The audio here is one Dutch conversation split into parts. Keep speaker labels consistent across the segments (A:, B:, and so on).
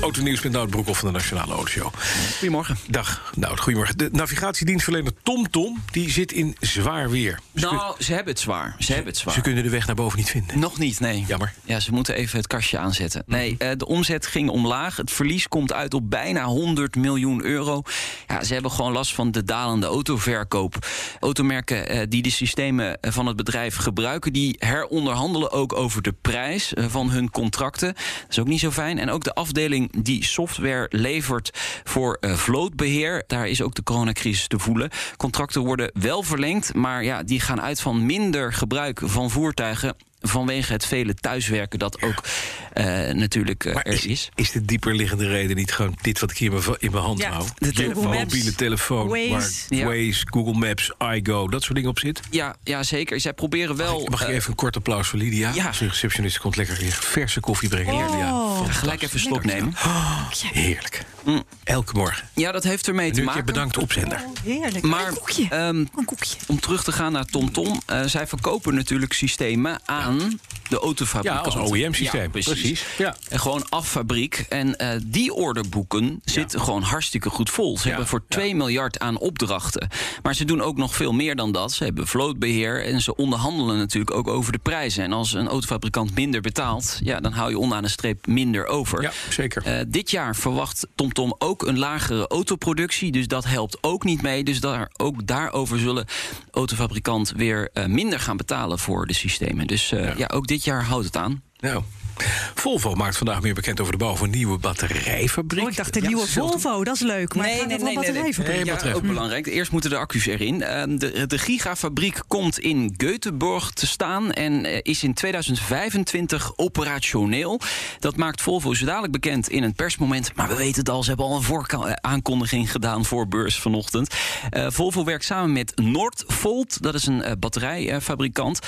A: Autonieuws met Nout Broekhoff van de Nationale Autoshow.
B: Goedemorgen.
A: Dag, Nout. Goedemorgen. De navigatiedienstverlener TomTom die zit in zwaar weer. Ze, kun-
B: Nou, ze hebben het zwaar. Ze hebben het zwaar.
A: ze kunnen de weg naar boven niet vinden.
B: Nog niet, nee.
A: Jammer. Mhm.
B: Ja, ze moeten even het kastje aanzetten. Nee, eh, de omzet ging omlaag. Het verlies komt uit op bijna 100 miljoen euro. Ja, ze hebben gewoon last van de dalende autoverkoop. Automerken eh, die de systemen eh, van het bedrijf gebruiken... die heronderhandelen ook over de prijs eh, van hun contracten. Dat is ook niet zo fijn. En ook de afdeling die software levert voor eh, vlootbeheer... daar is ook de coronacrisis te voelen. Contracten worden wel verlengd, maar ja, die gaan uit van minder gebruik van voertuigen vanwege het vele thuiswerken dat ook eh, natuurlijk eh,
A: Maar
B: er
A: is,
B: is.
A: is. de dieperliggende reden niet gewoon dit wat ik hier in mijn va- in mijn hand
C: Ja,
A: hou?
B: de
A: Je
B: Google
C: Maps,
A: mobiele telefoon,
C: Waze.
A: waar
B: Ja.
A: Waze, Google Maps, iGo, dat soort dingen op zit.
B: Ja, ja, zeker. Zij proberen wel...
A: Mag Ah, ik
B: eh,
A: even een kort applaus voor Lydia?
B: ja.
A: Onze receptionist komt lekker hier verse koffie brengen.
C: Oh.
A: Lydia.
B: Gelijk even slok nemen.
A: Heerlijk. Elke morgen.
B: Ja, dat heeft ermee
A: En
B: te
A: nu een keer
B: Mm. maken.
A: bedankt opzender.
C: Heerlijk.
B: Maar
C: een koekje.
B: ehm,
C: een koekje.
B: om terug te gaan naar TomTom. eh, zij verkopen natuurlijk systemen aan de autofabrikanten.
A: Ja, als OEM-systeem.
B: Ja, precies.
A: Precies, ja.
B: En gewoon af fabriek. En eh, die orderboeken zitten gewoon hartstikke goed vol. Ze hebben voor 2 miljard aan opdrachten. Maar ze doen ook nog veel meer dan dat. Ze hebben vlootbeheer en ze onderhandelen natuurlijk ook over de prijzen. En als een autofabrikant minder betaalt... Ja, dan hou je onderaan de streep minder over.
A: Ja, zeker.
B: Eh, dit jaar verwacht TomTom ook een lagere autoproductie. Dus dat helpt ook niet mee. Dus daar, ook daarover zullen autofabrikant weer eh, minder gaan betalen voor de systemen. Dus eh, ja. ook dit jaar houdt het aan.
A: Nou, Volvo maakt vandaag meer bekend over de bouw van een nieuwe batterijfabriek.
C: Oh, ik dacht de
A: Ja,
C: nieuwe
A: zelfde-
C: Volvo, dat is leuk. Maar
B: Nee,
C: nee, gaat
B: nee,
C: het wel
B: nee,
C: wat
B: nee,
C: erbij
B: nee.
C: verbinden?
A: Nee,
B: Ja,
A: maar Hm. terecht.
B: ook belangrijk. Eerst moeten de accu's erin. Eh, De, de gigafabriek komt in Göteborg te staan en eh, is in 2025 operationeel. Dat maakt Volvo zo dadelijk bekend in een persmoment. Maar we weten het al, ze hebben al een vooraankondiging gedaan voor beurs vanochtend. Eh, Volvo werkt samen met Noordvolt, dat is een eh, batterijfabrikant.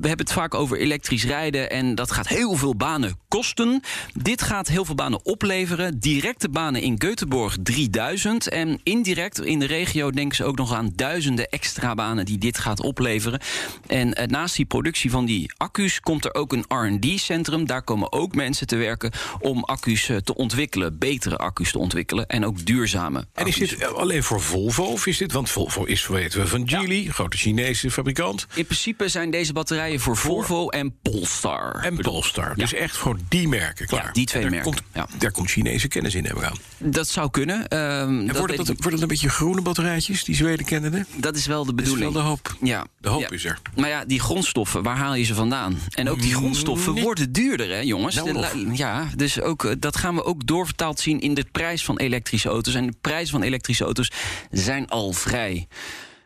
B: We hebben het vaak over elektrisch rijden en dat gaat heel veel banen kosten. Dit gaat heel veel banen opleveren. Directe banen in Göteborg 3000. En indirect in de regio denken ze ook nog aan duizenden extra banen die dit gaat opleveren. En eh, naast die productie van die accu's komt er ook een RD-centrum. Daar komen ook mensen te werken om accu's eh, te ontwikkelen, betere accu's te ontwikkelen en ook duurzame.
A: En is
B: accu's.
A: dit eh, alleen voor Volvo? Of is dit, want Volvo is, weten we, van Geely, grote Chinese fabrikant.
B: In principe zijn deze batterijen voor Volvo en Polestar.
A: En Polestar. Dus echt voor die merken, klaar.
B: die twee
A: En daar
B: merken,
A: Komt,
B: ja.
A: Daar komt Chinese kennis in, hebben we aan.
B: Dat zou kunnen. ehm,
A: En
B: dat
A: worden
B: weet
A: dat,
B: ik
A: worden dat een beetje groene batterijtjes, die Zweden kenden? Dat
B: niet. dat is wel de
A: is wel
B: bedoeling.
A: de hoop.
B: Ja.
A: De hoop
B: Ja.
A: is er.
B: Maar ja, die grondstoffen, waar haal je ze vandaan? En ook die grondstoffen
A: Niet-
B: worden duurder, hè, jongens?
A: Mm, Nou
B: De
A: nog.
B: lu- ja, dus ook, eh, dat gaan we ook doorvertaald zien in de prijs van elektrische auto's. En de prijzen van elektrische auto's zijn al vrij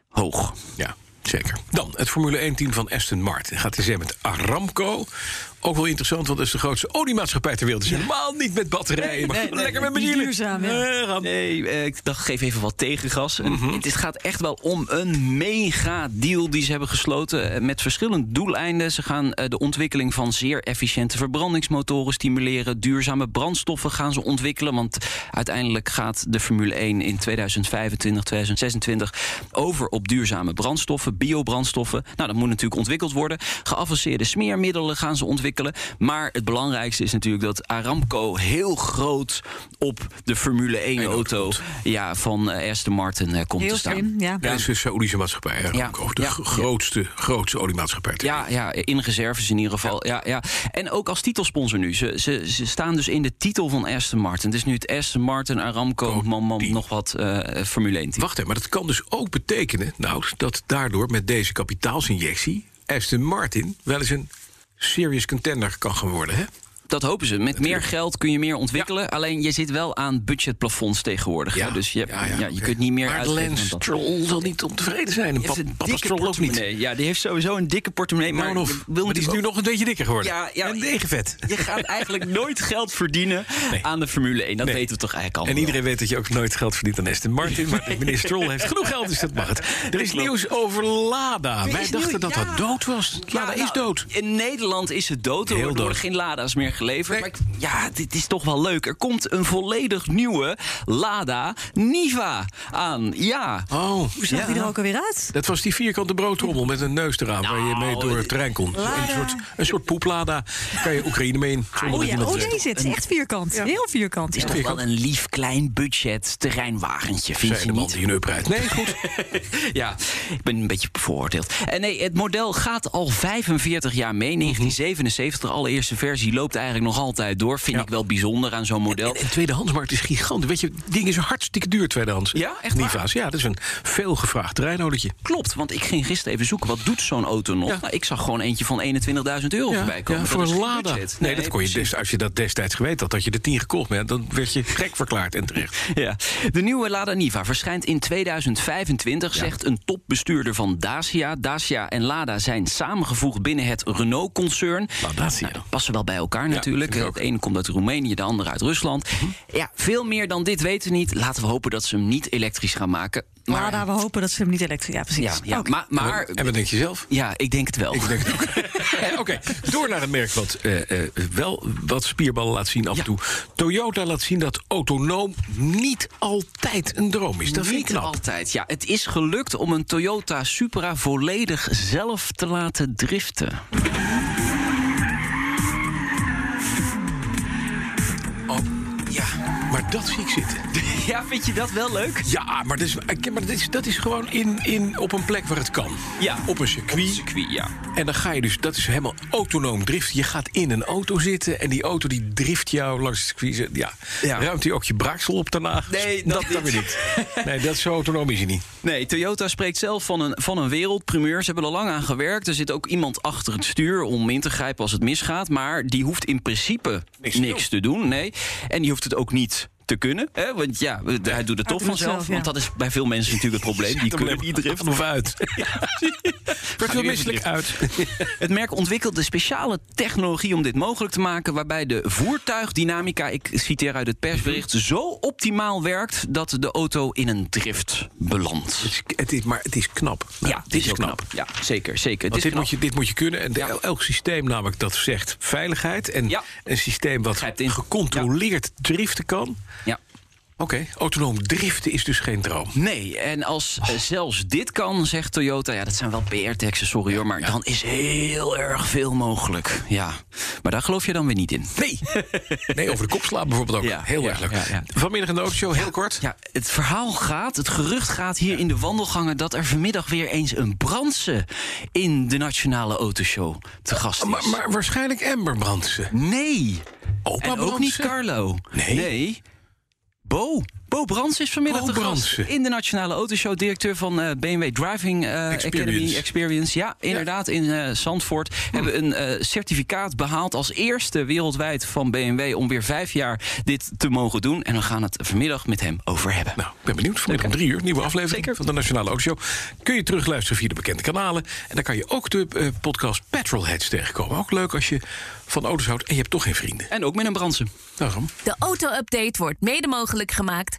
B: hoog.
A: Ja, zeker. Dan het Formule 1-team van Aston Martin. Gaat in zee met Aramco. Ook wel interessant, want dat is de grootste oliemaatschappij ter wereld. Dus helemaal niet met batterijen, maar
B: Nee, nee,
A: lekker
B: nee,
A: met benzine.
C: die duurzaam, ja.
A: Eh, Ram. Mhm.
B: Nee, eh, ik dacht, geef even wat tegengas. En Het is- gaat echt wel om een mega deal die ze hebben gesloten eh, met verschillende doeleinden. Ze gaan eh, de ontwikkeling van zeer efficiënte verbrandingsmotoren stimuleren. Duurzame brandstoffen gaan ze ontwikkelen. Want uiteindelijk gaat de Formule 1 in 2025, 2026 over op duurzame brandstoffen, biobrandstoffen. Nou, dat moet natuurlijk ontwikkeld worden. Geavanceerde smeermiddelen gaan ze ontwikkelen. Maar het belangrijkste is natuurlijk dat Aramco heel groot op de Formule 1 auto ja, van eh, Aston Martin eh, komt
C: Heel
B: te staan.
C: slim, ja.
A: Ja, dat is een Saoedische maatschappij. hè,
B: Ja.
A: Aramco. De
B: Ja.
A: gro- grootste, grootste oliemaatschappij. ter
B: Ja, ja, in reserves in ieder geval. Ja. Ja, En ook als titelsponsor nu. Ze, ze, ze staan dus in de titel van Aston Martin. Het is nu het Aston Martin, Aramco, man, man, nog wat eh, Formule 1 team.
A: Wacht even, maar dat kan dus ook betekenen, nou, dat daardoor met deze kapitaalsinjectie Aston Martin wel eens een serious contender kan gaan worden, hè?
B: dat hopen ze. Met meer geld kun je meer ontwikkelen. Alleen je zit wel aan budgetplafonds tegenwoordig.
A: Ja,
B: hè. Dus je, hebt-
A: ja, ja,
B: ja, je
A: oké.
B: kunt niet meer
A: Maar
B: uitgeven dan
A: Lance
B: dat.
A: Stroll zal niet ontevreden zijn. En
B: Die
A: pap,
B: heeft een
A: papa
B: dikke
A: Stroll ook niet.
B: portemonnee. Ja, die heeft sowieso een dikke portemonnee. Maar
A: Maar,
B: je
A: of,
B: wil
A: maar die is nu
B: natuurlijk
A: nog een beetje dikker geworden.
B: Ja, ja,
A: en
B: ja.
A: degenvet.
B: ook- Je gaat eigenlijk nooit geld verdienen
A: Nee.
B: aan de Formule 1. Dat
A: Nee.
B: weten we toch eigenlijk al.
A: En iedereen weet dat je ook nooit geld verdient aan Aston Martin. Maar meneer Stroll heeft genoeg geld, dus dat mag het. Er is nieuws over Lada. Wij
B: is
A: dachten
B: nieuws,
A: dat
B: ja.
A: dat dood was. Lada
B: nou,
A: is dood.
B: In Nederland is het dood. Er
A: Heel
B: worden
A: dood.
B: geen Lada's meer geleverd.
A: Nee.
B: Maar ik- ja, dit is toch wel leuk. Er komt een volledig nieuwe Lada Niva aan. Ja.
A: Oh,
D: Hoe zag die er ook alweer uit?
A: dat was die vierkante broodtrommel met een neus eraan... waar je
B: Nou,
A: mee door het terrein kon. Een soort, een soort poeplada. Kan je Oekraïne mee in. zonder
D: Oh
A: dat
D: ja,
A: iemand
D: oh
A: het weet.
D: deze, het is echt vierkant. Heel vierkant.
B: Is
D: ja.
B: toch wel een lief klein budget terreinwagentje, vind
A: Zei de
B: je
A: man
B: niet?
A: die een up rijdt. Nee, goed.
B: Ja, ik ben een beetje bevooroordeeld. En nee, het model gaat al 45 jaar mee.
A: Mhm.
B: 1977, de allereerste versie, loopt eigenlijk nog altijd door. Vind
A: Ja. Eh,
B: ik wel bijzonder aan zo'n model.
A: En, en tweedehandsmarkt is gigantisch. Weet je, dingen zijn hartstikke duur tweedehands.
B: Ja, echt waar?
A: Niva's. Ja, dat is een veelgevraagd terreinodertje.
B: Klopt, want ik ging gisteren even zoeken. Wat doet zo'n auto nog?
A: Ja.
B: Nou, ik zag gewoon eentje van 21.000 euro voorbij komen. Dat
A: voor
B: is
A: een
B: geen
A: Lada. Nee,
B: budget.
A: dat kon je
B: precies.
A: des, als je dat destijds geweten had, dat je de 10 gekocht bent, dan werd je gek verklaard en terecht.
B: Ja. De nieuwe Lada Niva verschijnt in 2025, zegt een topbestuurder van Dacia. Dacia en Lada zijn samengevoegd binnen het Renault-concern.
A: Nou, dat zie je.
B: Nou, passen wel bij elkaar natuurlijk.
A: vind ik ook.
B: Het ene komt uit Roemenië, de andere uit Rusland. Ja, veel meer dan dit weten we niet. Laten we hopen dat ze hem niet elektrisch gaan maken. Maar,
D: Lada, Nou, we hopen dat ze hem niet elektrisch... Ja,
B: ja,
D: precies.
B: ja,
D: Oké.
B: maar, maar
A: en wat denk je zelf?
B: ja, ik denk het wel.
A: Ik denk het ook. Oké, door naar een merk wat eh, eh, wel wat spierballen laat zien af en
B: Ja.
A: toe. Toyota laat zien dat autonoom niet altijd een droom is. Dat vind ik
B: Niet
A: knap.
B: altijd. Ja, het is gelukt om een Toyota Supra volledig zelf te laten driften.
A: Oh, ja, maar dat zie ik zitten.
B: Ja, vind je dat wel leuk?
A: Ja, maar, dat is, ik- maar dat, is, dat is gewoon in, in, op een plek waar het kan.
B: Ja.
A: Op een circuit.
B: Circuit, ja.
A: En dan ga je dus, dat is helemaal autonoom driften. Je gaat in een auto zitten en die auto die drift jou langs het circuit. Ja.
B: Ja.
A: Ruimt hij ook je braaksel op daarna?
B: Nee, dat
A: kan weer niet. Nee, dat is zo autonoom is hij niet.
B: Nee, Toyota spreekt zelf van een, van een wereldprimeur. Ze hebben er lang aan gewerkt. Er zit ook iemand achter het stuur om in te grijpen als het misgaat. Maar die hoeft in principe niks,
A: te
B: te doen. Nee. En die hoeft het ook niet te kunnen. Hè? Want ja, we- hij doet het toch
D: doet het
B: vanzelf.
D: zelf, ja.
B: Want dat is bij veel mensen natuurlijk het probleem. Die kunnen niet
A: drift of uit. Wordt wel
B: weer
A: misselijk
B: verdriften.
A: uit.
B: Het merk ontwikkelde speciale technologie om dit mogelijk te maken, waarbij de voertuigdynamica, ik citeer uit het persbericht, zo optimaal werkt dat de auto in een drift belandt.
A: Het is, het is- maar het is knap. Nou,
B: Ja, dit is knap. Ja, zeker, zeker. Het
A: Want
B: is
A: dit
B: knap.
A: moet, je, dit moet je kunnen. En de- elk systeem namelijk dat zegt veiligheid. En
B: Ja.
A: een systeem wat
B: Grijpt in.
A: gecontroleerd driften kan.
B: Ja.
A: Oké, autonoom driften is dus geen droom.
B: Nee, en als
A: Oh.
B: eh, zelfs dit kan, zegt Toyota, ja, dat zijn wel PR-teksten, sorry hoor, maar dan is heel erg veel mogelijk. Ja, maar daar geloof je dan weer niet in.
A: Nee. Nee, over de kop slaan bijvoorbeeld ook.
B: Ja,
A: heel
B: ja,
A: erg leuk.
B: ja, ja.
A: Vanmiddag in de autoshow, heel kort.
B: Ja, het verhaal gaat, het gerucht gaat hier in de wandelgangen... dat er vanmiddag weer eens een brandse in de Nationale Autoshow te gast is.
A: Maar, maar waarschijnlijk Amber Brandsen.
B: nee,
A: Opa
B: en ook
A: Brandsen?
B: niet Carlo.
A: Nee.
B: Bo. Bo Brands is vanmiddag
A: Bo
B: te gast
A: Brandsen.
B: in de Nationale Autoshow. Directeur van eh, BMW Driving eh,
A: Experience.
B: Academy Experience. Ja, inderdaad, in eh, Zandvoort.
A: Hm.
B: Hebben een eh, certificaat behaald als eerste wereldwijd van BMW... om weer vijf jaar dit te mogen doen. En we gaan het vanmiddag met hem over hebben.
A: Nou, ik ben benieuwd. Vanmiddag om drie uur, nieuwe aflevering van de Nationale Autoshow. Kun je terugluisteren via de bekende kanalen. En dan kan je ook de eh, podcast Petrolheads tegenkomen. Ook leuk als je van auto's houdt en je hebt toch geen vrienden. Nou,
B: En ook met een Bransen.
A: Daarom.
C: De auto-update wordt mede mogelijk gemaakt